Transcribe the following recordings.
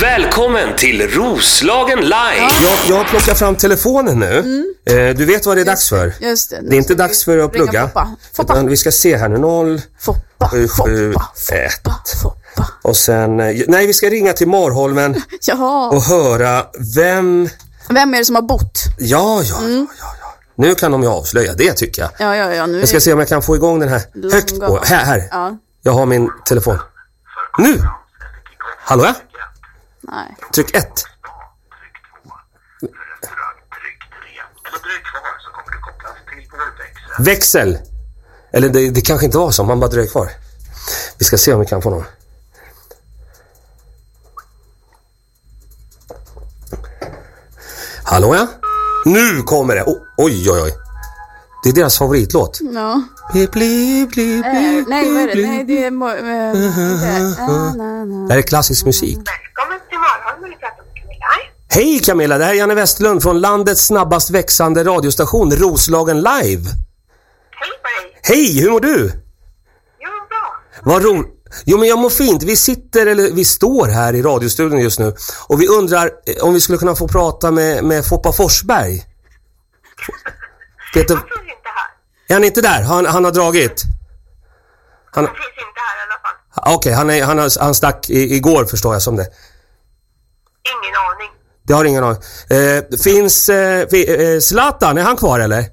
Välkommen till Roslagen live! Jag, jag plockar fram telefonen nu. Eh, du vet vad det är dags för? Mm. Just det. nu Det är inte ska dags vi för att ringa plugga. Foppa. Utan Foppa. vi ska se här nu. Noll Foppa. sju, sju, Foppa. ett. Foppa. Foppa. och sen... eh, Nej, vi ska ringa till Marholmen Jaha. och höra vem... Vem är det som har bott? Ja, ja, Mm. ja, ja, ja. Nu kan de ju avslöja det tycker jag. Ja, ja, ja. Nu är Jag ska det- se om jag kan få igång den här. Högt på. Långa. Här, här. Ja. Jag har min telefon. Nu! Hallå ja? Nej. Tryck ett. Växel! Eller det, det kanske inte var så, man bara dröjer kvar. Vi ska se om vi kan få någon. Hallå ja? Nu kommer det! O- oj, oj, oj. Det är deras favoritlåt. Ja. Bli, bli, bli, bli, Eh, Nej, vad är bli, det? Nej, bli. det är... mo- eh, inte. Ah, na, na. Det här är klassisk musik. Välkommen till Marholmen, vi pratar med Camilla. Hej Camilla, det här är Janne Westlund från landets snabbast växande radiostation Roslagen Live. Hej på dig! Hej, hur mår du? Jo, bra. Vad ro... Jo men jag mår fint. Vi sitter, eller vi står här i radiostudion just nu och vi undrar eh, om vi skulle kunna få prata med, med Foppa Forsberg. Peter, Han finns inte här. är han inte där? Han, han har dragit? Han, Han finns inte här i alla fall. okej, han, är- han, har- han stack i, igår förstår jag som det. Ingen aning. Det har ingen aning. Eh, finns eh, fi- eh, Zlatan, är han kvar eller? Vet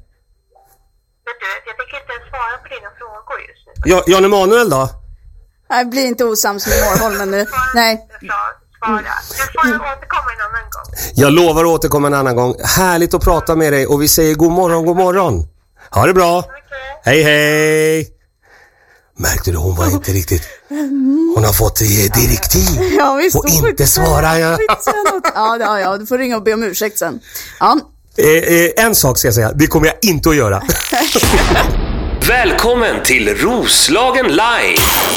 du, jag tänker inte ens svara på dina frågor just nu. Ja, Jan Emanuel då? Nej, bli inte osams med Morholmen nu. Svara- Nej. Jag sa svara. Du får återkomma en annan gång. Jag lovar att återkomma en annan gång. Härligt att prata med dig och vi säger god morgon, god morgon. Ha det bra. Hej, Okej. hej. Märkte du, hon var inte riktigt... Hon har fått eh, direktiv. Ja, visst. Och hon får inte svara, ja. hon får inte säga något. Ja, ja, ja, du får ringa och be om ursäkt sen. Ja, Eh, eh, en sak ska jag säga, det kommer jag inte att göra. Välkommen till Roslagen live!